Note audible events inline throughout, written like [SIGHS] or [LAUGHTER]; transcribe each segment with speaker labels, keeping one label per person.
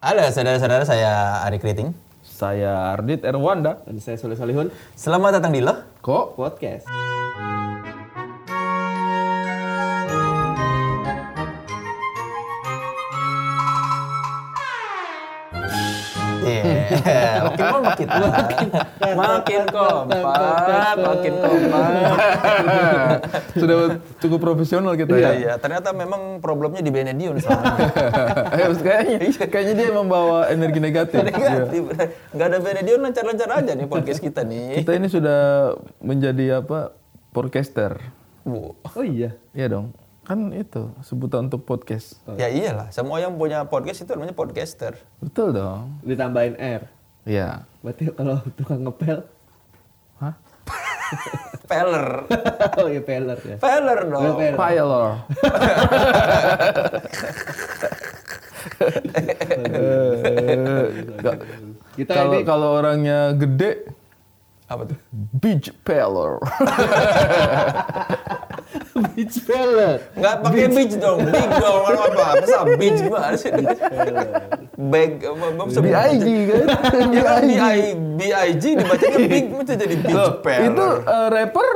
Speaker 1: Halo saudara-saudara, saya Ari Kriting.
Speaker 2: Saya Ardit Erwanda.
Speaker 3: Dan saya Soleh Solihun,
Speaker 1: Selamat datang di Loh.
Speaker 2: Kok? [LAUGHS]
Speaker 3: podcast.
Speaker 1: [LAUGHS] Yeah. makin lama makin makin kompak, makin kompak.
Speaker 2: Sudah cukup profesional kita
Speaker 1: Iya,
Speaker 2: ya. [LAUGHS]
Speaker 1: iya. Ternyata memang problemnya di Benedion selama ini.
Speaker 2: Eh, kayaknya, kayaknya dia membawa energi negatif. Iya.
Speaker 1: Negatif. Nggak ada Benedion lancar-lancar aja nih podcast kita nih.
Speaker 2: Kita ini sudah menjadi apa? Podcaster.
Speaker 1: Wow.
Speaker 3: Oh iya.
Speaker 2: Iya dong. Kan itu sebutan untuk podcast.
Speaker 1: Ya iyalah, semua yang punya podcast itu namanya podcaster.
Speaker 2: Betul dong.
Speaker 3: Ditambahin R.
Speaker 2: Iya.
Speaker 3: Berarti kalau tukang ngepel. [LAUGHS]
Speaker 2: Hah?
Speaker 1: Peller.
Speaker 3: oh iya peler ya.
Speaker 1: Peller
Speaker 3: Oh,
Speaker 1: dong.
Speaker 3: peler.
Speaker 2: Pilor. Eh, nggak-
Speaker 3: Kita
Speaker 2: Kalau
Speaker 3: ini
Speaker 2: kalau orangnya gede,
Speaker 1: Apa tuh?
Speaker 2: beach pilor.
Speaker 3: beach peler.
Speaker 1: Nggak pakai beach dong, big dong, kalau apa? Masa beach gimana sih? Bag, apa, apa,
Speaker 2: B I G kan?
Speaker 1: [LAUGHS] Ya kan
Speaker 2: B.I.G.
Speaker 1: B.I.G. B.I.G. dibacanya
Speaker 2: [LAUGHS]
Speaker 1: big, mesti jadi beach
Speaker 2: Loh,
Speaker 1: peller.
Speaker 2: Itu eh, rapper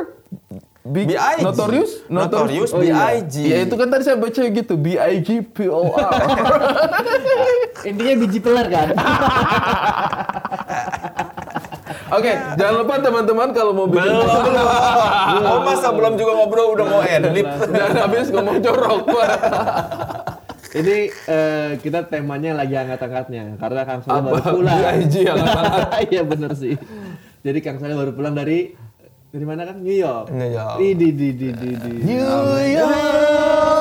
Speaker 2: Big
Speaker 1: B.I.G..
Speaker 2: Notorious
Speaker 1: Notorious
Speaker 2: iya.
Speaker 1: B.I.G..
Speaker 2: Ya itu kan tadi saya baca gitu B.I.G. P.O.R. [LAUGHS]
Speaker 3: Intinya biji peler kan.
Speaker 2: Oke, jangan lupa teman-teman kalau mau bikin [LAUGHS]
Speaker 1: Belum, belum. Oh masa belum juga ngobrol udah mau
Speaker 2: [LAUGHS]
Speaker 1: edlip.
Speaker 2: jangan habis ngomong jorok.
Speaker 3: ini eh, kita temanya lagi angkat-angkatnya karena Kang Soleh
Speaker 2: Apa?
Speaker 3: baru pulang.
Speaker 2: BIG angkat-angkat.
Speaker 3: [LAUGHS] Iya bener sih. Jadi Kang Soleh baru pulang dari dari mana kan New York.
Speaker 1: New York.
Speaker 3: Di di di di di. di.
Speaker 2: [LAUGHS] New York,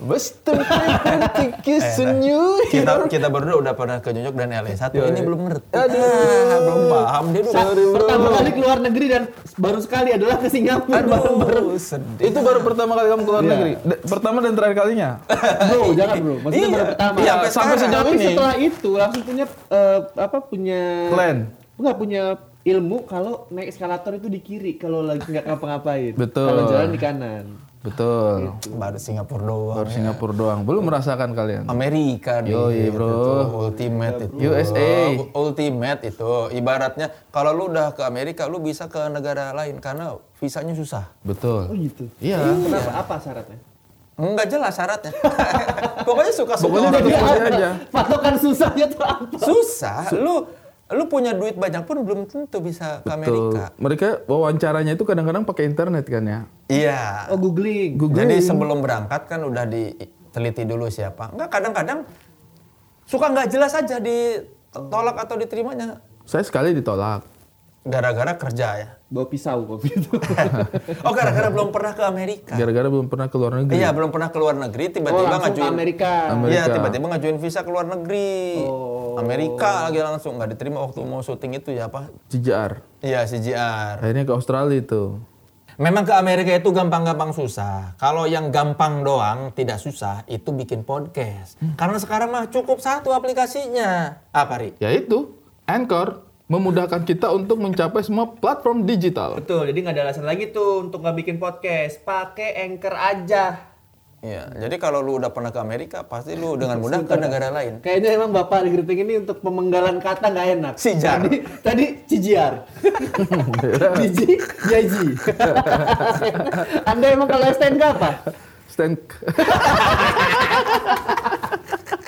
Speaker 2: Western [LAUGHS] Kentucky, New
Speaker 1: Kita kita berdua udah pernah ke New York dan LA. Satu ini belum ngerti.
Speaker 2: Iya, Aduh.
Speaker 1: Ah, belum paham dia dulu.
Speaker 2: Sorry, bro.
Speaker 3: Pertama kali keluar negeri dan baru sekali adalah ke Singapura bareng-bareng.
Speaker 1: Aduh, sedih.
Speaker 2: Itu baru pertama kali kamu keluar
Speaker 3: Iya.
Speaker 2: negeri. Da- pertama dan terakhir kalinya.
Speaker 3: Bro, jangan bro. Maksudnya
Speaker 1: Iya.
Speaker 3: baru pertama.
Speaker 1: Iya,
Speaker 2: sampai
Speaker 1: sampai
Speaker 2: sejauh
Speaker 3: Tapi
Speaker 2: ini.
Speaker 3: setelah itu langsung punya eh, apa punya
Speaker 2: Plan.
Speaker 3: Enggak punya ilmu kalau naik eskalator itu di kiri kalau lagi nggak ngapa-ngapain.
Speaker 2: Betul.
Speaker 3: Kalau jalan di kanan.
Speaker 2: [LAUGHS] Betul. Iya.
Speaker 1: Baru Singapura doang.
Speaker 2: Baru Singapura doang. Belum merasakan kalian.
Speaker 1: Amerika nih.
Speaker 2: Yoi, bro.
Speaker 1: Itu ultimate itu.
Speaker 2: USA.
Speaker 1: Ultimate itu. Ibaratnya kalau lu udah ke Amerika, lu bisa ke negara lain karena visanya susah.
Speaker 3: Oh
Speaker 2: Betul.
Speaker 3: gitu.
Speaker 2: Iya.
Speaker 3: Kenapa? Apa syaratnya?
Speaker 1: Enggak jelas syaratnya. [LAUGHS] Pokoknya suka-suka
Speaker 2: Pokoknya
Speaker 1: orang.
Speaker 2: dia Iya. aja.
Speaker 3: Patokan susahnya tuh apa?
Speaker 1: Susah. Lu lu punya duit banyak pun belum tentu bisa ke
Speaker 2: Betul.
Speaker 1: Amerika.
Speaker 2: Mereka wawancaranya itu kadang-kadang pakai internet kan ya.
Speaker 1: Iya.
Speaker 3: Oh googling.
Speaker 2: Google.
Speaker 1: Jadi sebelum berangkat kan udah diteliti dulu siapa. Enggak kadang-kadang suka nggak jelas aja ditolak atau diterimanya
Speaker 2: Saya sekali ditolak.
Speaker 1: gara-gara kerja ya.
Speaker 3: Bawa pisau kok gitu.
Speaker 1: [LAUGHS] Oh gara-gara belum pernah ke Amerika.
Speaker 2: Gara-gara belum pernah ke luar negeri.
Speaker 1: Iya, belum pernah ke luar negeri,
Speaker 3: Oh
Speaker 1: tiba-tiba
Speaker 3: langsung ke
Speaker 1: ngajuin.
Speaker 3: Amerika.
Speaker 2: Amerika.
Speaker 1: Iya, tiba-tiba ngajuin visa ke luar negeri.
Speaker 3: Oh.
Speaker 1: Amerika lagi langsung nggak diterima waktu mau syuting itu ya apa?
Speaker 2: CJR.
Speaker 1: Iya, CJR.
Speaker 2: Akhirnya ke Australia itu.
Speaker 1: Memang ke Amerika itu gampang-gampang susah. Kalau yang gampang doang, tidak susah, itu bikin podcast.
Speaker 2: Hmm.
Speaker 1: Karena sekarang mah cukup satu aplikasinya. Apa, Ri?
Speaker 2: Yaitu Ya Anchor memudahkan kita untuk mencapai semua platform digital.
Speaker 3: Betul, jadi nggak ada alasan lagi tuh untuk nggak bikin podcast. Pakai anchor aja.
Speaker 1: Iya, jadi kalau lu udah pernah ke Amerika, pasti lu dengan mudah ke negara lain.
Speaker 3: Kayaknya emang Bapak di Geriting ini untuk pemenggalan kata nggak enak.
Speaker 1: Sijar.
Speaker 3: Tadi, tadi cijiar. Jiji, jaji. Anda emang kalau STN nggak apa?
Speaker 2: Stand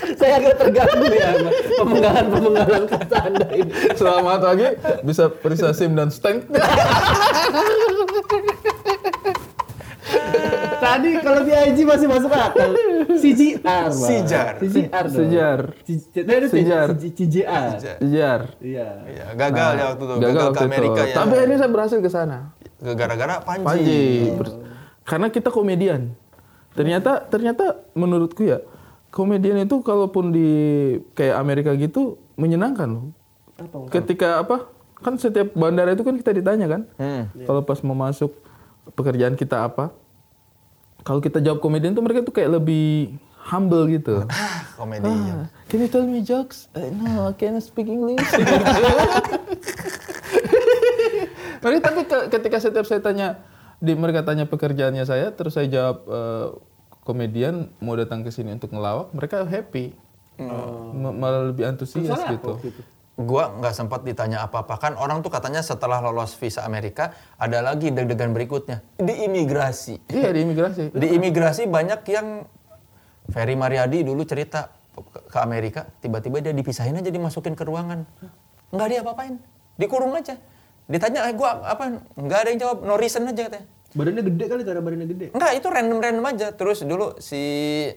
Speaker 3: Saya agak terganggu ya sama pemenggalan-pemenggalan kata Anda ini.
Speaker 2: [LAUGHS] selamat pagi bisa periksa SIM dan stand.
Speaker 1: Iya.
Speaker 3: Tadi kalau BIG masih masuk akal. Cijiar. Bang.
Speaker 1: Sijar.
Speaker 3: Cijiar. dong.
Speaker 2: Sijar.
Speaker 3: Cij- tadi itu
Speaker 2: Sijar.
Speaker 3: cij- Cijiar.
Speaker 2: CJR.
Speaker 3: Iya.
Speaker 1: Iya, gagal ya waktu itu. Gagal,
Speaker 2: Nah, Gagal
Speaker 1: ke
Speaker 2: waktu itu.
Speaker 1: Amerika ya.
Speaker 2: Tapi akhirnya saya berhasil ke sana.
Speaker 1: Gara-gara Panji.
Speaker 2: Panji. Ber- Karena kita komedian. Ternyata ternyata menurutku ya komedian itu kalaupun di kayak Amerika gitu menyenangkan loh.
Speaker 3: Apa?
Speaker 2: Ketika apa? Kan setiap bandara itu kan kita ditanya kan.
Speaker 1: [SIGHS] Hmm.
Speaker 2: Kalau pas mau masuk pekerjaan kita apa? Kalau kita jawab komedian tuh mereka tuh kayak lebih humble gitu.
Speaker 1: Ah, komedian.
Speaker 2: Ah, Can you tell me jokes? Uh, no, I cannot speak English. Mari [LAUGHS] tapi ke- ketika setiap saya tanya di mereka tanya pekerjaannya saya, terus saya jawab eh, komedian mau datang ke sini untuk ngelawak, mereka happy. Ma- malah lebih antusias
Speaker 3: Soalnya
Speaker 2: gitu.
Speaker 3: aku gitu.
Speaker 1: Gua nggak sempat ditanya apa-apa kan orang tuh katanya setelah lolos visa Amerika ada lagi deg-degan berikutnya di imigrasi.
Speaker 2: Iya di imigrasi.
Speaker 1: Di imigrasi banyak yang Ferry Mariadi dulu cerita ke- ke Amerika, tiba-tiba dia dipisahin aja dimasukin ke ruangan. Nggak dia apa-apain, dikurung aja. Ditanya, eh gua apa? Nggak ada yang jawab, no reason aja katanya.
Speaker 3: Badannya gede kali cara badannya gede.
Speaker 1: Enggak, itu random-random aja. Terus dulu si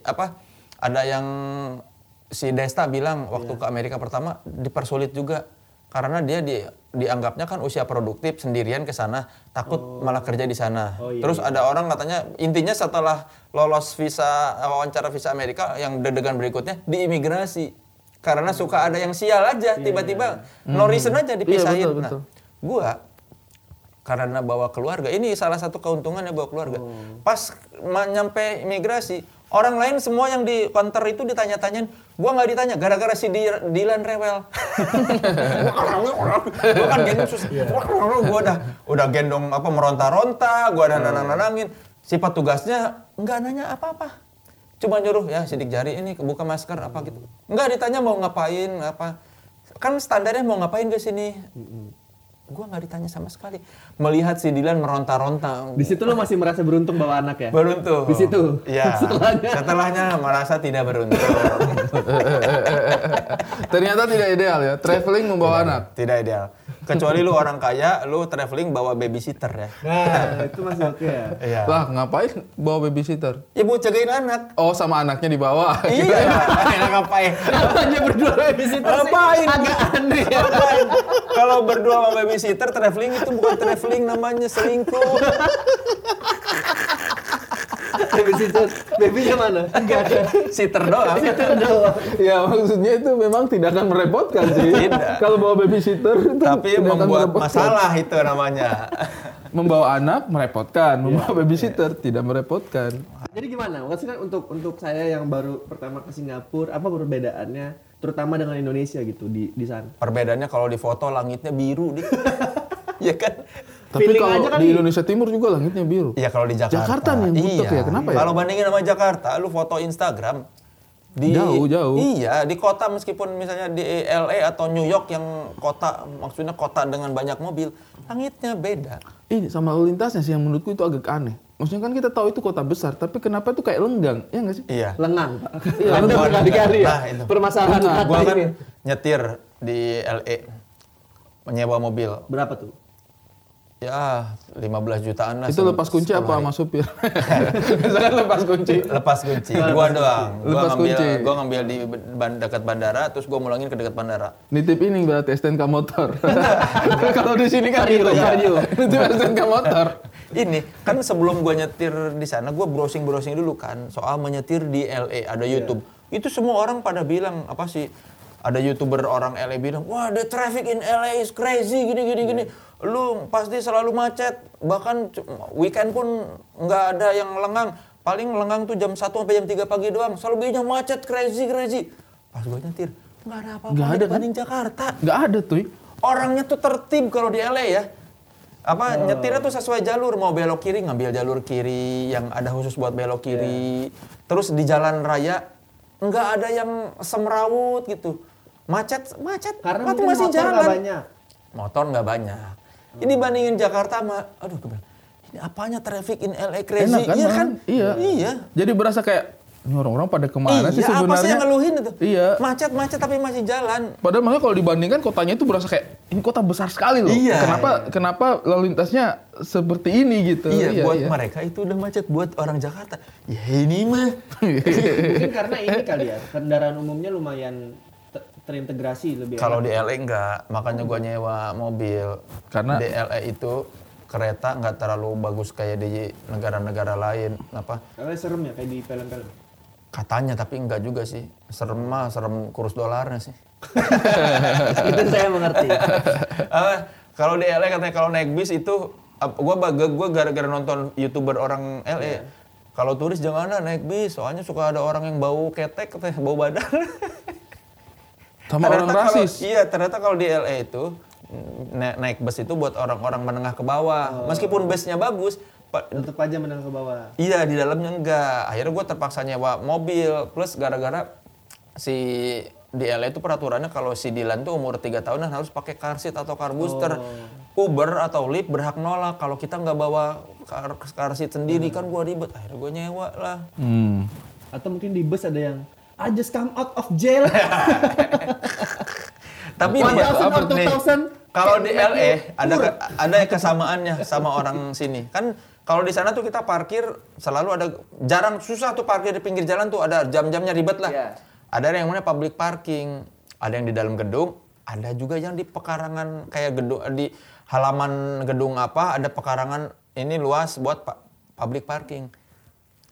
Speaker 1: apa ada yang si Desta bilang waktu
Speaker 3: Iya.
Speaker 1: ke Amerika pertama dipersulit juga karena dia di, dianggapnya kan usia produktif sendirian ke sana takut malah kerja di sana.
Speaker 3: Oh, iya,
Speaker 1: Terus ada orang katanya intinya setelah lolos visa wawancara visa Amerika yang deg-degan berikutnya di imigrasi karena suka ada yang sial
Speaker 3: Iya,
Speaker 1: aja tiba-tiba no reason
Speaker 3: Hmm.
Speaker 1: aja dipisahin.
Speaker 2: betul,
Speaker 1: Nah,
Speaker 2: betul.
Speaker 1: gua karena bawa keluarga ini salah satu keuntungannya bawa keluarga pas ma- nyampe imigrasi orang lain semua yang di counter itu ditanya-tanyain gua nggak ditanya gara-gara si Di- Dilan rewel gua kan gendong susah gua udah udah gendong apa meronta-ronta gua ada nanang-nanangin si petugasnya nggak nanya apa-apa cuma nyuruh ya sidik jari ini buka masker apa gitu nggak ditanya mau ngapain apa kan standarnya mau ngapain ke sini gue nggak ditanya sama sekali melihat si Dilan meronta-ronta
Speaker 3: Di situ lo masih merasa beruntung bawa anak ya?
Speaker 1: beruntung
Speaker 3: Di situ?
Speaker 1: ya
Speaker 3: [LAUGHS] Setelahnya?
Speaker 1: setelahnya merasa tidak beruntung
Speaker 3: [LAUGHS]
Speaker 2: Ternyata tidak ideal ya. Traveling membawa anak.
Speaker 1: tidak ideal kecuali lu orang kaya lu traveling bawa babysitter ya
Speaker 3: Nah, itu masih oke ya.
Speaker 1: iya
Speaker 2: Lah ngapain bawa babysitter?
Speaker 1: ya mau jagain
Speaker 3: [LAUGHS]
Speaker 1: anak
Speaker 2: Oh sama anaknya dibawa.
Speaker 1: iya [LAUGHS] enak ngapain
Speaker 3: Apanya berdua babysitter sih?
Speaker 1: Ngapain?
Speaker 3: Agak aneh ya.
Speaker 1: Ngapain? kalau berdua sama babysitter traveling itu bukan traveling namanya selingkuh
Speaker 3: babysitter. Babynya mana? Enggak ada.
Speaker 1: sitter doang
Speaker 3: doang.
Speaker 2: Ya maksudnya itu memang tidak akan merepotkan sih.
Speaker 1: Tidak.
Speaker 2: Kalau bawa babysitter itu
Speaker 1: tapi
Speaker 2: tidak akan
Speaker 1: membuat
Speaker 2: merepotkan.
Speaker 1: masalah itu namanya
Speaker 2: Membawa anak merepotkan,
Speaker 1: Iya,
Speaker 2: membawa babysitter tidak merepotkan.
Speaker 3: Jadi gimana? Maksudnya kan untuk untuk saya yang baru pertama ke Singapura, apa perbedaannya terutama dengan Indonesia gitu di di sana?
Speaker 1: perbedaannya kalau di foto langitnya biru
Speaker 2: [LAUGHS]
Speaker 1: deh ya kan
Speaker 2: Tapi
Speaker 3: Feeling
Speaker 2: kalau
Speaker 3: aja kali.
Speaker 2: di Indonesia Timur juga langitnya biru.
Speaker 1: Iya kalau di Jakarta. Iya.
Speaker 2: Jakarta nih yang butek ya, kenapa ya?
Speaker 1: Kalau bandingin sama Jakarta, lu foto Instagram di
Speaker 2: Jauh, jauh.
Speaker 1: Iya, di kota meskipun misalnya di LA atau New York yang kota maksudnya kota dengan banyak mobil, langitnya beda.
Speaker 2: Ini sama lalu lintasnya sih yang menurutku itu agak aneh. Maksudnya kan kita tahu itu kota besar, tapi kenapa itu kayak lenggang? Ya nggak sih?
Speaker 1: Iya.
Speaker 3: Lengang, Pak.
Speaker 1: Lengang.
Speaker 3: Anda pernah dikari ya?
Speaker 1: Nah, itu.
Speaker 3: Permasalahan
Speaker 2: Lengang.
Speaker 3: kata
Speaker 1: Gua kan
Speaker 3: ini.
Speaker 1: nyetir di LA menyewa mobil.
Speaker 3: Berapa tuh?
Speaker 1: Ya, 15 jutaan lah.
Speaker 2: itu
Speaker 1: se-
Speaker 2: lepas kunci
Speaker 1: sepuluh
Speaker 2: apa
Speaker 1: hari.
Speaker 2: sama supir? Misalkan lepas kunci.
Speaker 1: lepas kunci gua doang gua
Speaker 2: Lepas
Speaker 1: ngambil
Speaker 2: kunci.
Speaker 1: gua ngambil di ban- dekat bandara terus gua mulangin ke dekat bandara
Speaker 2: Nitip ini berarti STNK motor. Kalau di sini kan gitu ya.
Speaker 1: Iya.
Speaker 2: Nitip STNK motor.
Speaker 1: [LAUGHS] Ini kan sebelum gua nyetir di sana, gua browsing-browsing dulu kan soal menyetir di LA ada
Speaker 2: Iya.
Speaker 1: YouTube. Itu semua orang pada bilang apa sih? Ada youtuber orang LA bilang, wah the traffic in LA is crazy gini gini gini.
Speaker 2: Iya.
Speaker 1: Lu pasti selalu macet, bahkan c- weekend pun nggak ada yang lengang. Paling lengang tuh jam 1 sampai jam 3 pagi doang. Selebihnya macet crazy crazy. Pas gua nyetir, nggak ada apa-apa
Speaker 2: Nggak ada, kan?
Speaker 1: dibanding Jakarta
Speaker 2: Nggak ada tuh.
Speaker 1: orangnya tuh tertib kalau di LA ya. Apa
Speaker 2: Hmm.
Speaker 1: nyetirnya tuh sesuai jalur, mau belok kiri ngambil jalur kiri yang ada khusus buat belok kiri. Terus di jalan raya nggak ada yang semrawut gitu. Macet, macet.
Speaker 3: Karena
Speaker 1: waktu
Speaker 3: mungkin
Speaker 1: masih
Speaker 3: motor nggak
Speaker 1: jalan.
Speaker 3: banyak.
Speaker 1: Motor nggak banyak. Ini
Speaker 2: Hmm.
Speaker 1: bandingin Jakarta sama aduh gue bilang, ini apanya traffic in LA crazy?
Speaker 2: Enak kan?
Speaker 1: iya
Speaker 2: malam?
Speaker 1: kan?
Speaker 2: Iya.
Speaker 1: Iya.
Speaker 2: Jadi berasa kayak ini orang-orang pada kemana sih
Speaker 1: Iya,
Speaker 2: sebenarnya?
Speaker 1: apa sih yang ngeluhin itu?
Speaker 2: Iya.
Speaker 1: Macet-macet tapi masih jalan.
Speaker 2: Padahal makanya kalau dibandingkan kotanya itu berasa kayak ini kota besar sekali loh.
Speaker 1: Iya.
Speaker 2: Kenapa kenapa lalu lintasnya seperti ini gitu?
Speaker 1: Iya, buat mereka itu udah macet, buat orang Jakarta. Ya ini mah.
Speaker 3: Mungkin karena ini kali ya, kendaraan umumnya lumayan te- terintegrasi lebih
Speaker 1: Kalau di LA enggak, makanya gua nyewa mobil.
Speaker 2: Karena-
Speaker 1: di LA itu kereta nggak terlalu bagus kayak di negara-negara lain. Apa?
Speaker 3: Karena serem ya kayak di film-film.
Speaker 1: Katanya tapi enggak juga sih. Serem mah serem kurs dolarnya sih. [LAUGHS]
Speaker 3: itu saya mengerti.
Speaker 1: Ah, kalau di LA katanya kalau naik bis itu ap- gua bangga gua gara-gara nonton YouTuber orang LA. Kalau turis jangan lah naik bis, soalnya suka ada orang yang bau ketek, katanya, bau badan.
Speaker 2: [LAUGHS]
Speaker 1: [LAUGHS]
Speaker 2: Sama orang
Speaker 1: Ternyata kalau-
Speaker 2: rasis.
Speaker 1: Iya, ternyata kalau di LA itu mm, na- naik bus itu buat orang-orang menengah ke
Speaker 2: Oh.
Speaker 1: bawah. Meskipun busnya bagus, pa-
Speaker 3: Tetep aja menang ke bawah.
Speaker 1: iya di dalamnya enggak. Akhirnya gue terpaksa nyewa mobil plus gara-gara si di LA itu peraturannya kalau si Dilan tuh umur 3 tahunan harus pakai car seat atau car booster.
Speaker 2: Oh.
Speaker 1: Uber atau Lyft berhak nolak kalau kita nggak bawa car, car seat sendiri kan gua ribet. Akhirnya gua nyewa lah.
Speaker 2: Hmm.
Speaker 3: Atau mungkin di bus ada yang I just come out of [LAUGHS] jail. Uh,
Speaker 1: Tapi
Speaker 3: One
Speaker 1: dia-
Speaker 3: thousand or
Speaker 1: apa nih?
Speaker 3: two thousand
Speaker 1: Kalau di
Speaker 3: can make
Speaker 1: LA
Speaker 3: you
Speaker 1: ada
Speaker 3: poor.
Speaker 1: ke- ada kesamaannya sama orang sini. Kan kalau di sana tuh kita parkir selalu ada jarang susah tuh parkir di pinggir jalan tuh ada jam-jamnya ribet lah.
Speaker 3: Iya.
Speaker 1: Ada yang namanya public parking, ada yang di dalam gedung, ada juga yang di pekarangan kayak gedung di halaman gedung apa ada pekarangan ini luas buat pa- public parking.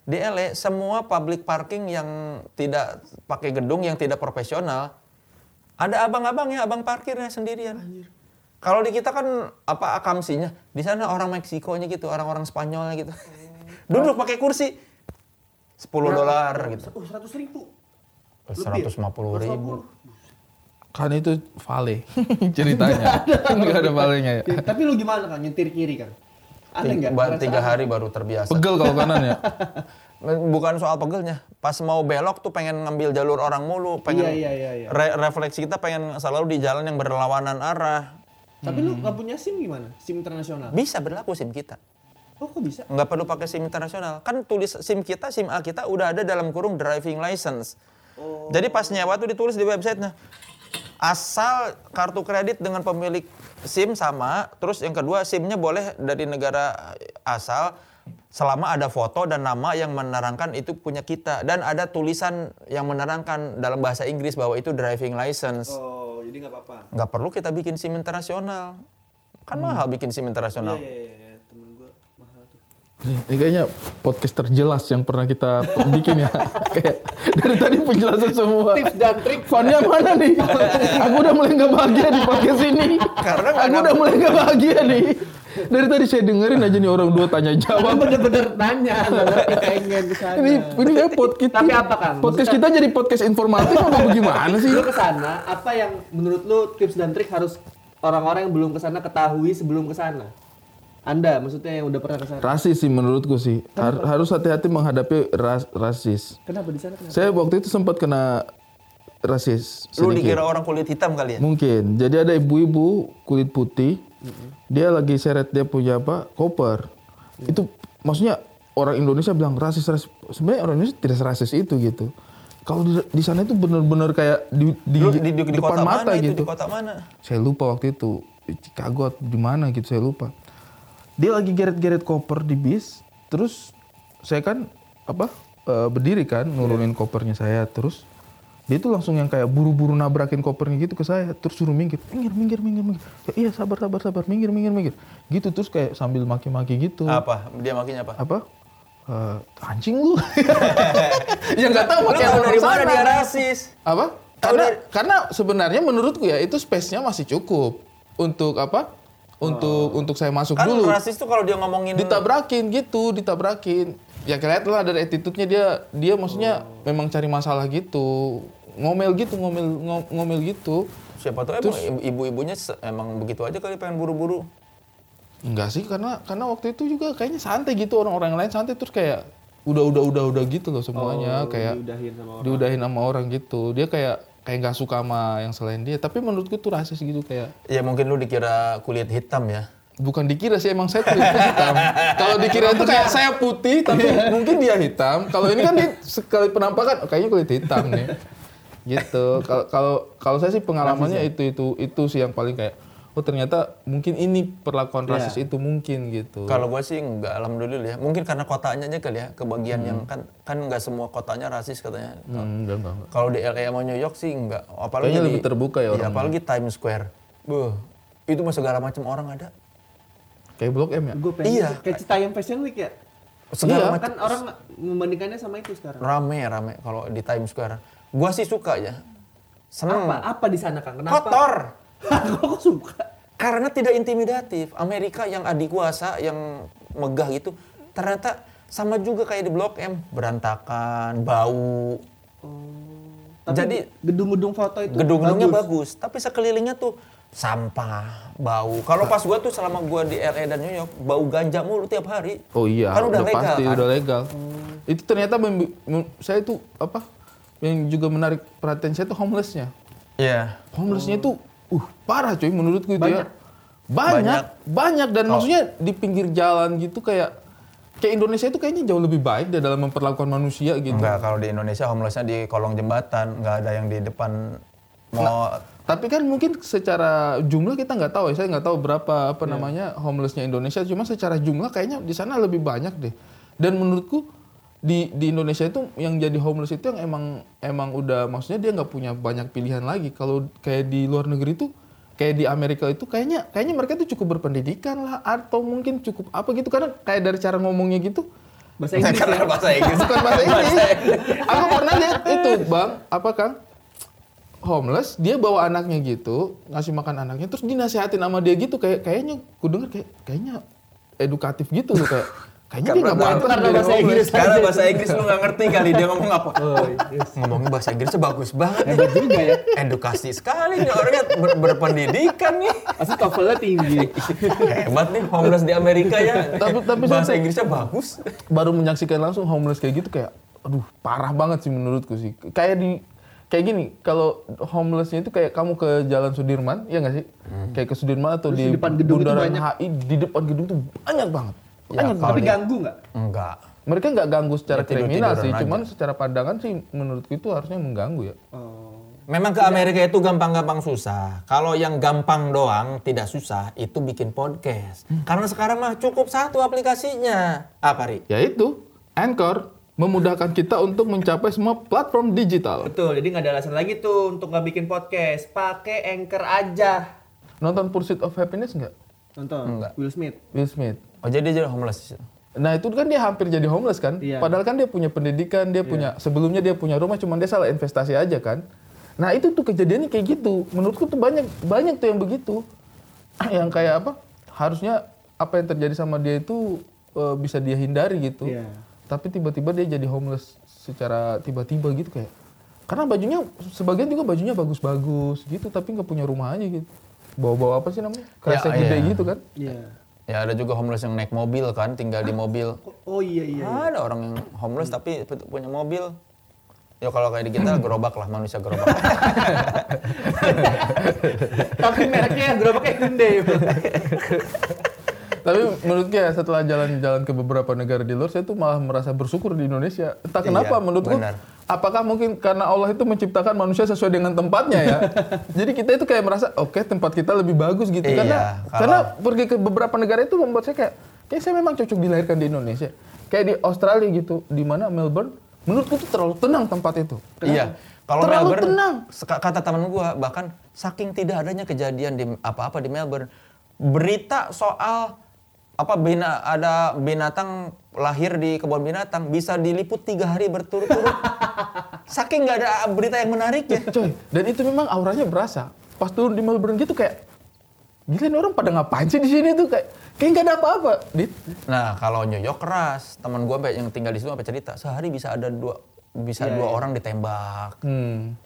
Speaker 1: Di LA semua public parking yang tidak pakai gedung yang tidak profesional ada abang-abangnya, abang parkirnya sendirian. Kalau di kita kan apa akamsinya, di sana orang Meksikonya gitu, orang-orang Spanyolnya
Speaker 3: Oh.
Speaker 1: gitu. Duduk pakai kursi 10 dolar gitu.
Speaker 3: Oh, 100 ribu. ya?
Speaker 1: 150 ribu.
Speaker 2: Kan itu vale [LAUGHS] ceritanya. Enggak ada valenya ya.
Speaker 3: Ya, tapi lu gimana kan nyetir kiri kan? Aneh nggak?
Speaker 1: Tiga,
Speaker 3: Perasaan-
Speaker 1: tiga hari baru terbiasa.
Speaker 2: Pegel kalau kanan ya.
Speaker 1: Bukan soal pegelnya, pas mau belok tuh pengen ngambil jalur orang mulu, pengen
Speaker 3: Iya, iya, iya, iya.
Speaker 1: re- refleksi kita pengen selalu di jalan yang berlawanan arah.
Speaker 3: Tapi lu nggak punya SIM gimana? SIM internasional.
Speaker 1: Bisa berlaku SIM kita.
Speaker 3: Oh, kok bisa?
Speaker 1: nggak perlu pakai SIM internasional. Kan tulis SIM kita, SIM A kita udah ada dalam kurung driving license.
Speaker 3: Oh.
Speaker 1: Jadi pas nyewa tuh ditulis di websitenya. Asal kartu kredit dengan pemilik SIM sama, terus yang kedua SIM-nya boleh dari negara asal selama ada foto dan nama yang menerangkan itu punya kita dan ada tulisan yang menerangkan dalam bahasa Inggris bahwa itu driving license.
Speaker 3: Oh, jadi nggak apa-apa.
Speaker 1: Nggak perlu kita bikin SIM internasional. Kan mahal bikin SIM internasional.
Speaker 3: Hmm. Iya, iya, iya. Temen gue mahal tuh.
Speaker 2: Nih, Ini kayaknya podcast terjelas yang pernah kita bikin
Speaker 3: [LAUGHS]
Speaker 2: ya. Kayak dari tadi penjelasan semua.
Speaker 3: Tips dan trik.
Speaker 2: Fannya mana nih? Aku udah mulai nggak bahagia di podcast ini.
Speaker 1: Karena nggak
Speaker 2: aku
Speaker 1: ada-
Speaker 2: udah mulai nggak bahagia nih. Dari tadi saya dengerin aja nih orang dua tanya
Speaker 3: Karena
Speaker 2: jawab.
Speaker 3: bener-bener nanya, nggak ngerti pengen ke sana.
Speaker 2: Ini ini kayak podcast.
Speaker 3: Tapi apa, Kang?
Speaker 2: Podcast kita jadi podcast informatif apa bagaimana sih?
Speaker 3: Lu ke sana, apa yang menurut lu tips dan trik harus orang-orang yang belum ke sana ketahui sebelum ke sana? Anda maksudnya yang udah pernah ke sana.
Speaker 2: Rasis sih menurutku sih. Har- harus hati-hati menghadapi ras- rasis.
Speaker 3: Kenapa di sana kenapa?
Speaker 2: Saya waktu itu sempat kena rasis.
Speaker 1: Lu
Speaker 2: sedikit.
Speaker 1: dikira orang kulit hitam kali ya?
Speaker 2: Mungkin. Jadi ada ibu-ibu kulit putih, dia lagi seret dia punya apa? Koper.
Speaker 1: Iya.
Speaker 2: Itu maksudnya orang Indonesia bilang rasis rasis. Sebenarnya orang Indonesia tidak rasis itu gitu. Kalau di, di sana itu benar-benar kayak di, di,
Speaker 1: Lu di, di, di kota
Speaker 2: depan mata
Speaker 1: mana itu
Speaker 2: gitu.
Speaker 1: di kota mana
Speaker 2: Saya lupa waktu itu di Chicago atau di mana gitu saya lupa. Dia lagi geret-geret koper di bis, terus saya kan apa eh, berdiri kan
Speaker 1: Iya.
Speaker 2: nurunin kopernya saya terus dia tuh langsung yang kayak buru-buru nabrakin kopernya gitu ke saya terus suruh minggir minggir minggir minggir minggir Ya, iya sabar sabar sabar minggir minggir minggir gitu terus kayak sambil maki-maki gitu
Speaker 1: apa dia makinya apa
Speaker 2: apa Eh,
Speaker 1: [LAUGHS]
Speaker 2: anjing lu [LAUGHS] ya nggak tahu
Speaker 1: lu
Speaker 2: pakai
Speaker 1: tahu
Speaker 2: orang
Speaker 1: dari mana
Speaker 2: sana.
Speaker 1: dia rasis
Speaker 2: apa karena karena sebenarnya menurutku ya itu space-nya masih cukup untuk apa
Speaker 3: Oh.
Speaker 2: untuk untuk saya masuk
Speaker 1: kan
Speaker 2: dulu
Speaker 1: rasis tuh kalau dia ngomongin
Speaker 2: ditabrakin gitu ditabrakin ya kelihatan lah dari attitude-nya dia dia maksudnya
Speaker 3: Oh.
Speaker 2: memang cari masalah gitu ngomel gitu ngomel ngo- ngomel gitu
Speaker 1: siapa tuh emang ibu- ibu-ibunya se- emang begitu aja kali pengen buru-buru
Speaker 2: enggak sih karena karena waktu itu juga kayaknya santai gitu orang-orang lain santai terus kayak udah udah udah udah gitu loh semuanya kayak
Speaker 3: Oh, diudahin sama orang.
Speaker 2: diudahin sama orang gitu dia kayak kayak nggak suka sama yang selain dia tapi menurutku tuh rasis gitu kayak
Speaker 1: ya mungkin lu dikira kulit hitam ya
Speaker 2: Bukan dikira sih emang saya kulit
Speaker 1: [LAUGHS]
Speaker 2: hitam. Kalau dikira itu kayak saya putih tapi mungkin dia hitam. Kalau ini kan dia sekali penampakan oh, kayaknya kulit hitam nih. Gitu. Kalau kalau kalau saya sih pengalamannya itu itu itu sih yang paling kayak oh ternyata mungkin ini
Speaker 1: Iya.
Speaker 2: perlakuan rasis itu mungkin gitu.
Speaker 1: kalau gua sih nggak alhamdulillah ya mungkin karena kotanya aja kali ya kebagian yang kan kan nggak semua kotanya rasis katanya
Speaker 2: Hmm, enggak, enggak, enggak.
Speaker 1: kalau di LA sama New York sih nggak apalagi di-
Speaker 2: Kayaknya
Speaker 1: iya,
Speaker 2: lebih terbuka ya orangnya.
Speaker 1: apalagi Times Square Buh, itu mah segala macam orang ada
Speaker 2: Kayak Blok M ya?
Speaker 3: Gue pengen
Speaker 1: Iya.
Speaker 3: kayak Citayam Fashion Week ya.
Speaker 4: Iya.
Speaker 2: Iya.
Speaker 1: segala macam
Speaker 3: kan orang membandingkannya sama itu sekarang.
Speaker 1: rame rame kalau di Times Square. Gua sih suka ya.
Speaker 4: Hmm.
Speaker 1: Seneng.
Speaker 3: Apa apa di sana Kang? Kenapa?
Speaker 1: Kotor.
Speaker 3: [LAUGHS] Kok kok suka?
Speaker 1: Karena tidak intimidatif. Amerika yang adikuasa, yang megah gitu, ternyata sama juga kayak di Blok M, berantakan, bau.
Speaker 3: Tapi
Speaker 1: Jadi-
Speaker 3: gedung-gedung foto itu
Speaker 1: Gedung-gedungnya bagus. tapi sekelilingnya tuh sampah, bau. Kalau pas gua tuh selama gua di LA dan New York, bau ganja mulu tiap hari.
Speaker 2: Oh iya,
Speaker 1: kan udah, legal.
Speaker 2: pasti
Speaker 1: kan?
Speaker 2: udah legal. Itu ternyata membi- mem- saya itu apa? yang juga menarik perhatian saya tuh homelessnya.
Speaker 1: Iya.
Speaker 2: Homelessnya itu uh parah cuy menurutku itu
Speaker 3: Banyak.
Speaker 2: ya. Banyak, banyak, dan
Speaker 1: Oh.
Speaker 2: maksudnya di pinggir jalan gitu kayak kayak Indonesia itu kayaknya jauh lebih baik deh dalam memperlakukan manusia gitu.
Speaker 1: Enggak, kalau di Indonesia homelessnya di kolong jembatan, nggak ada yang di depan
Speaker 2: Nah.
Speaker 1: mau
Speaker 2: Tapi kan mungkin secara jumlah kita nggak tahu ya. Saya nggak tahu berapa apa namanya homelessnya Indonesia. Cuma secara jumlah kayaknya di sana lebih banyak deh. Dan menurutku di di Indonesia itu yang jadi homeless itu yang emang emang udah maksudnya dia nggak punya banyak pilihan lagi. Kalau kayak di luar negeri itu kayak di Amerika itu kayaknya kayaknya mereka tuh cukup berpendidikan lah atau mungkin cukup apa gitu karena kayak dari cara ngomongnya gitu
Speaker 3: Bahasa Inggris
Speaker 4: [LAUGHS]
Speaker 3: ya.
Speaker 1: karena bahasa Inggris.
Speaker 2: bukan bahasa Inggris. Aku pernah lihat itu, Bang. Apa Kang? Homeless, dia bawa anaknya gitu, ngasih makan anaknya, terus dinasehatin sama dia gitu, kayak kayaknya, ku denger kayak kayaknya edukatif gitu loh, kayak kayaknya dia
Speaker 1: Karena
Speaker 2: nggak
Speaker 1: bahasa-
Speaker 2: pantas
Speaker 3: karena
Speaker 2: jadi
Speaker 3: bahasa
Speaker 2: homeless.
Speaker 3: Inggris.
Speaker 1: Karena bahasa Inggris lu nggak ngerti kali dia ngomong apa. Ngomongnya bahasa Inggrisnya bagus banget.
Speaker 3: Hebat juga ya.
Speaker 1: Edukasi sekali nih orangnya ber- berpendidikan nih.
Speaker 3: Pasti TOEFL-nya
Speaker 4: [LAUGHS]
Speaker 3: tinggi.
Speaker 1: Hebat nih homeless di Amerika ya.
Speaker 2: Tapi- tapi
Speaker 1: bahasa
Speaker 2: saya-
Speaker 1: Inggrisnya bagus.
Speaker 2: Baru menyaksikan langsung homeless kayak gitu, kayak aduh parah banget sih menurutku sih. Kayak di kayak gini, kalau homelessnya itu kayak kamu ke Jalan Sudirman, ya nggak sih? Kayak ke Sudirman atau di,
Speaker 3: di depan gedung itu
Speaker 2: Bundaran
Speaker 3: banyak.
Speaker 2: HI, di depan gedung tuh banyak banget.
Speaker 4: Ya,
Speaker 2: Banyak
Speaker 3: Tapi ganggu nggak?
Speaker 1: Enggak.
Speaker 2: Mereka nggak ganggu secara
Speaker 1: Ya, tidur-tiduran
Speaker 2: kriminal sih,
Speaker 1: aja.
Speaker 2: cuman secara pandangan sih menurutku itu harusnya mengganggu ya.
Speaker 3: Oh.
Speaker 1: Memang ke Amerika itu gampang-gampang susah. Kalau yang gampang doang tidak susah itu bikin podcast. Karena sekarang mah cukup satu aplikasinya. Apa Ri?
Speaker 2: Yaitu Anchor memudahkan kita untuk mencapai semua platform digital.
Speaker 4: Betul, jadi nggak ada alasan lagi tuh untuk nggak bikin podcast. Pakai anchor aja.
Speaker 2: Nonton Pursuit of Happiness nggak?
Speaker 3: Nonton Will Smith.
Speaker 2: Will Smith.
Speaker 1: Oh jadi dia homeless.
Speaker 2: Nah itu kan dia hampir jadi homeless kan?
Speaker 3: Iya.
Speaker 2: Padahal kan dia punya pendidikan, dia punya sebelumnya dia punya rumah, cuman dia salah investasi aja kan? Nah itu tuh kejadiannya kayak gitu. Menurutku tuh banyak banyak tuh yang begitu, [CLEARS THROAT] yang kayak apa? Harusnya apa yang terjadi sama dia itu eh, bisa dia hindari gitu.
Speaker 3: Iya.
Speaker 2: Tapi tiba-tiba dia jadi homeless secara tiba-tiba gitu kayak. Karena bajunya sebagian juga bajunya bagus-bagus gitu, tapi nggak punya rumah aja gitu. Bawa-bawa apa sih namanya?
Speaker 1: Ya,
Speaker 2: Kresek gede
Speaker 1: iya.
Speaker 2: gitu kan?
Speaker 3: Iya.
Speaker 1: Ya ada juga homeless yang naik mobil kan, tinggal di mobil.
Speaker 3: Oh iya iya.
Speaker 1: Ada orang yang homeless
Speaker 2: Hmm.
Speaker 1: tapi pu- punya mobil. Ya kalau kayak di kita gerobak lah manusia gerobak.
Speaker 4: Tapi mereknya gerobaknya Hyundai.
Speaker 2: Tapi menurutku ya setelah jalan-jalan ke beberapa negara di luar, saya tuh malah merasa bersyukur di Indonesia. Entah
Speaker 1: Iya,
Speaker 2: kenapa menurutku,
Speaker 1: benar.
Speaker 2: apakah mungkin karena Allah itu menciptakan manusia sesuai dengan tempatnya
Speaker 1: [LAUGHS]
Speaker 2: ya? Jadi kita itu kayak merasa, oke tempat kita lebih bagus gitu.
Speaker 1: Iya,
Speaker 2: karena
Speaker 1: kalau-
Speaker 2: karena pergi ke beberapa negara itu membuat saya kayak, kayak saya memang cocok dilahirkan di Indonesia. Kayak di Australia gitu, di mana Melbourne, menurutku tuh terlalu [LAUGHS] tenang tempat itu.
Speaker 1: iya. Kalau
Speaker 2: Terlalu
Speaker 1: Melbourne,
Speaker 2: tenang.
Speaker 1: seka- kata teman gua bahkan saking tidak adanya kejadian di apa-apa di Melbourne, berita soal apa bina ada binatang lahir di kebun binatang bisa diliput tiga hari berturut-turut.
Speaker 2: [LAUGHS]
Speaker 1: saking nggak ada berita yang menarik ya.
Speaker 2: Coy, dan itu memang auranya berasa. Pas turun di Melbourne gitu kayak, gila ini orang pada ngapain sih di sini tuh kayak, kayak nggak ada apa-apa. Dit,
Speaker 1: Nah, kalau New York keras, teman gua sampai- yang tinggal di situ apa cerita, sehari bisa ada dua bisa
Speaker 2: Iya,
Speaker 1: dua orang ditembak.
Speaker 2: Hmm.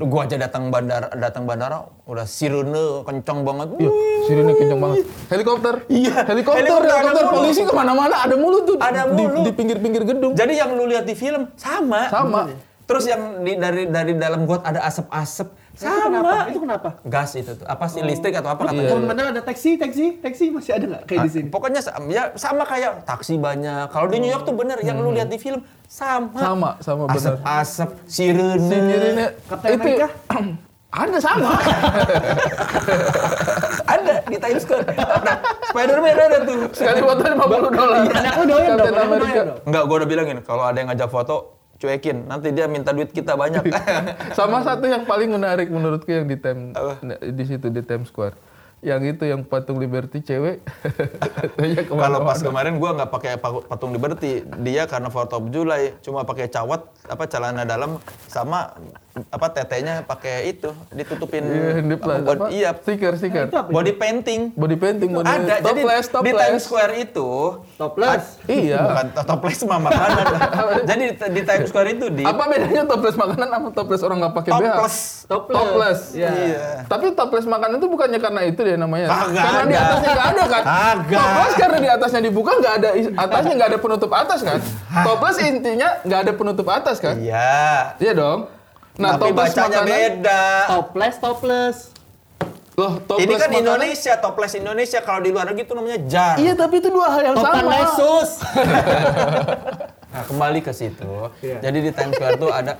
Speaker 1: Lu gua aja datang bandara datang bandara udah sirene kencang banget.
Speaker 2: Iya, sirine kencang banget. Helikopter.
Speaker 1: Iya,
Speaker 2: Helikopter,
Speaker 1: helikopter
Speaker 2: helikopter,
Speaker 1: ada mulu.
Speaker 2: polisi kemana-mana ada mulu tuh.
Speaker 1: Ada
Speaker 2: di,
Speaker 1: mulu.
Speaker 2: Di pinggir-pinggir gedung.
Speaker 1: Jadi yang lu lihat di film sama.
Speaker 2: Sama.
Speaker 1: Terus yang di- dari dari dalam got ada asap-asep
Speaker 3: Itu kenapa?
Speaker 1: sama.
Speaker 3: Itu kenapa?
Speaker 1: Gas itu tuh. Apa sih listrik atau apa katanya?
Speaker 2: Iya,
Speaker 3: Kalau mana ada taksi, taksi, taksi masih ada nggak kayak
Speaker 4: Ah.
Speaker 3: di sini?
Speaker 1: Pokoknya sama, ya sama kayak taksi banyak. Kalau di New York tuh bener yang lu lihat di film Hmm. sama.
Speaker 2: Sama, sama, bener.
Speaker 1: Asap-asap, sirene.
Speaker 2: Sirine
Speaker 3: Captain America?
Speaker 2: [CLEARS THROAT] ada sama. [LAUGHS]
Speaker 1: ada di Times Square. Nah, Spider-Man ada tuh.
Speaker 2: Sekali foto 50 dolar.
Speaker 3: Anak lu Iya, Nah, doyan dong,
Speaker 2: Captain
Speaker 3: anak lu
Speaker 2: America.
Speaker 3: doyan dong.
Speaker 1: Enggak, gua udah bilangin kalau ada yang ngajak foto cuekin, nanti dia minta duit kita banyak. [LAUGHS]
Speaker 2: Sama satu yang paling menarik menurutku yang di Tem
Speaker 1: Apa?
Speaker 2: di situ di Times Square. Yang itu yang patung Liberty cewek. [LAUGHS] Tanya
Speaker 1: Kalau
Speaker 2: kemana-mana.
Speaker 1: pas kemarin gua nggak pakai pa- patung Liberty, dia karena 4th of July cuma pakai cawat apa celana dalam sama apa tetenya pakai itu ditutupin
Speaker 2: Iya, di
Speaker 1: apa,
Speaker 2: plas-
Speaker 1: bod-
Speaker 2: apa? Iya.
Speaker 1: iya
Speaker 2: Stiker, stiker.
Speaker 3: Itu apa?
Speaker 1: body painting
Speaker 2: Body painting, body
Speaker 1: ada jadi
Speaker 2: topless,
Speaker 1: di
Speaker 2: topless.
Speaker 1: Times Square itu
Speaker 3: Topless.
Speaker 1: ad-
Speaker 2: Iya.
Speaker 1: [LAUGHS] bukan to- topless mah makanan
Speaker 2: [LAUGHS]
Speaker 1: jadi di, di Times Square itu di
Speaker 2: Apa bedanya topless makanan sama topless orang nggak pakai BH?
Speaker 1: topless
Speaker 3: Topless.
Speaker 2: Topless.
Speaker 3: Iya.
Speaker 1: Iya.
Speaker 2: Tapi topless makanan itu bukannya karena itu deh namanya.
Speaker 1: Kagak
Speaker 2: karena di
Speaker 1: ada.
Speaker 2: atasnya nggak ada kan?
Speaker 1: Kagak.
Speaker 2: Topless karena di atasnya dibuka nggak ada is- atasnya nggak ada penutup atas kan? Topless intinya nggak ada penutup atas kan?
Speaker 1: iya
Speaker 2: Iya dong. Nah,
Speaker 1: tapi
Speaker 2: topless
Speaker 1: bacanya
Speaker 2: makanan
Speaker 1: beda
Speaker 3: Topless, topless.
Speaker 2: loh, topless
Speaker 1: ini kan
Speaker 2: makanan-
Speaker 1: Indonesia topless Indonesia kalau di luar negeri itu namanya jar
Speaker 2: Iya, tapi itu dua hal yang sama.
Speaker 3: Topanesus.
Speaker 1: Nah, kembali ke situ. Jadi di Times Square tuh ada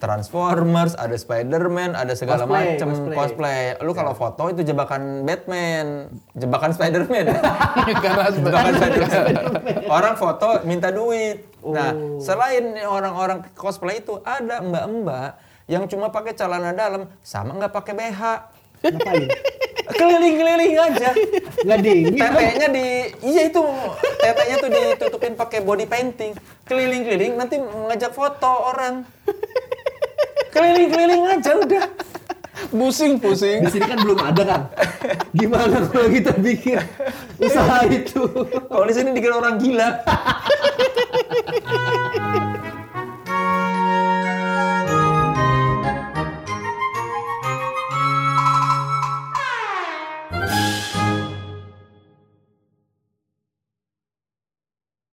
Speaker 1: Transformers, ada Spider-Man, ada segala
Speaker 3: Cosplay,
Speaker 1: macam
Speaker 3: cosplay.
Speaker 1: cosplay. Iya. Lu kalau foto itu jebakan Batman, jebakan [LAUGHS] Spider-Man.
Speaker 2: [LAUGHS] karena
Speaker 1: jebakan
Speaker 2: [LAUGHS]
Speaker 1: Spider-Man. orang foto minta duit. Nah, selain orang-orang cosplay itu ada mbak-mbak yang cuma pakai celana dalam sama nggak pakai [LAUGHS] BH.
Speaker 3: Ngapain?
Speaker 1: Keliling-keliling aja.
Speaker 3: Nggak dingin.
Speaker 1: Tetenya di iya itu tetenya tuh ditutupin pakai body painting. Keliling-keliling nanti ngajak foto orang. Keliling-keliling aja udah.
Speaker 2: pusing-pusing.
Speaker 3: Di sini kan belum ada kan. Gimana kalau kita bikin usaha itu?
Speaker 1: Kalau di sini dikira orang gila.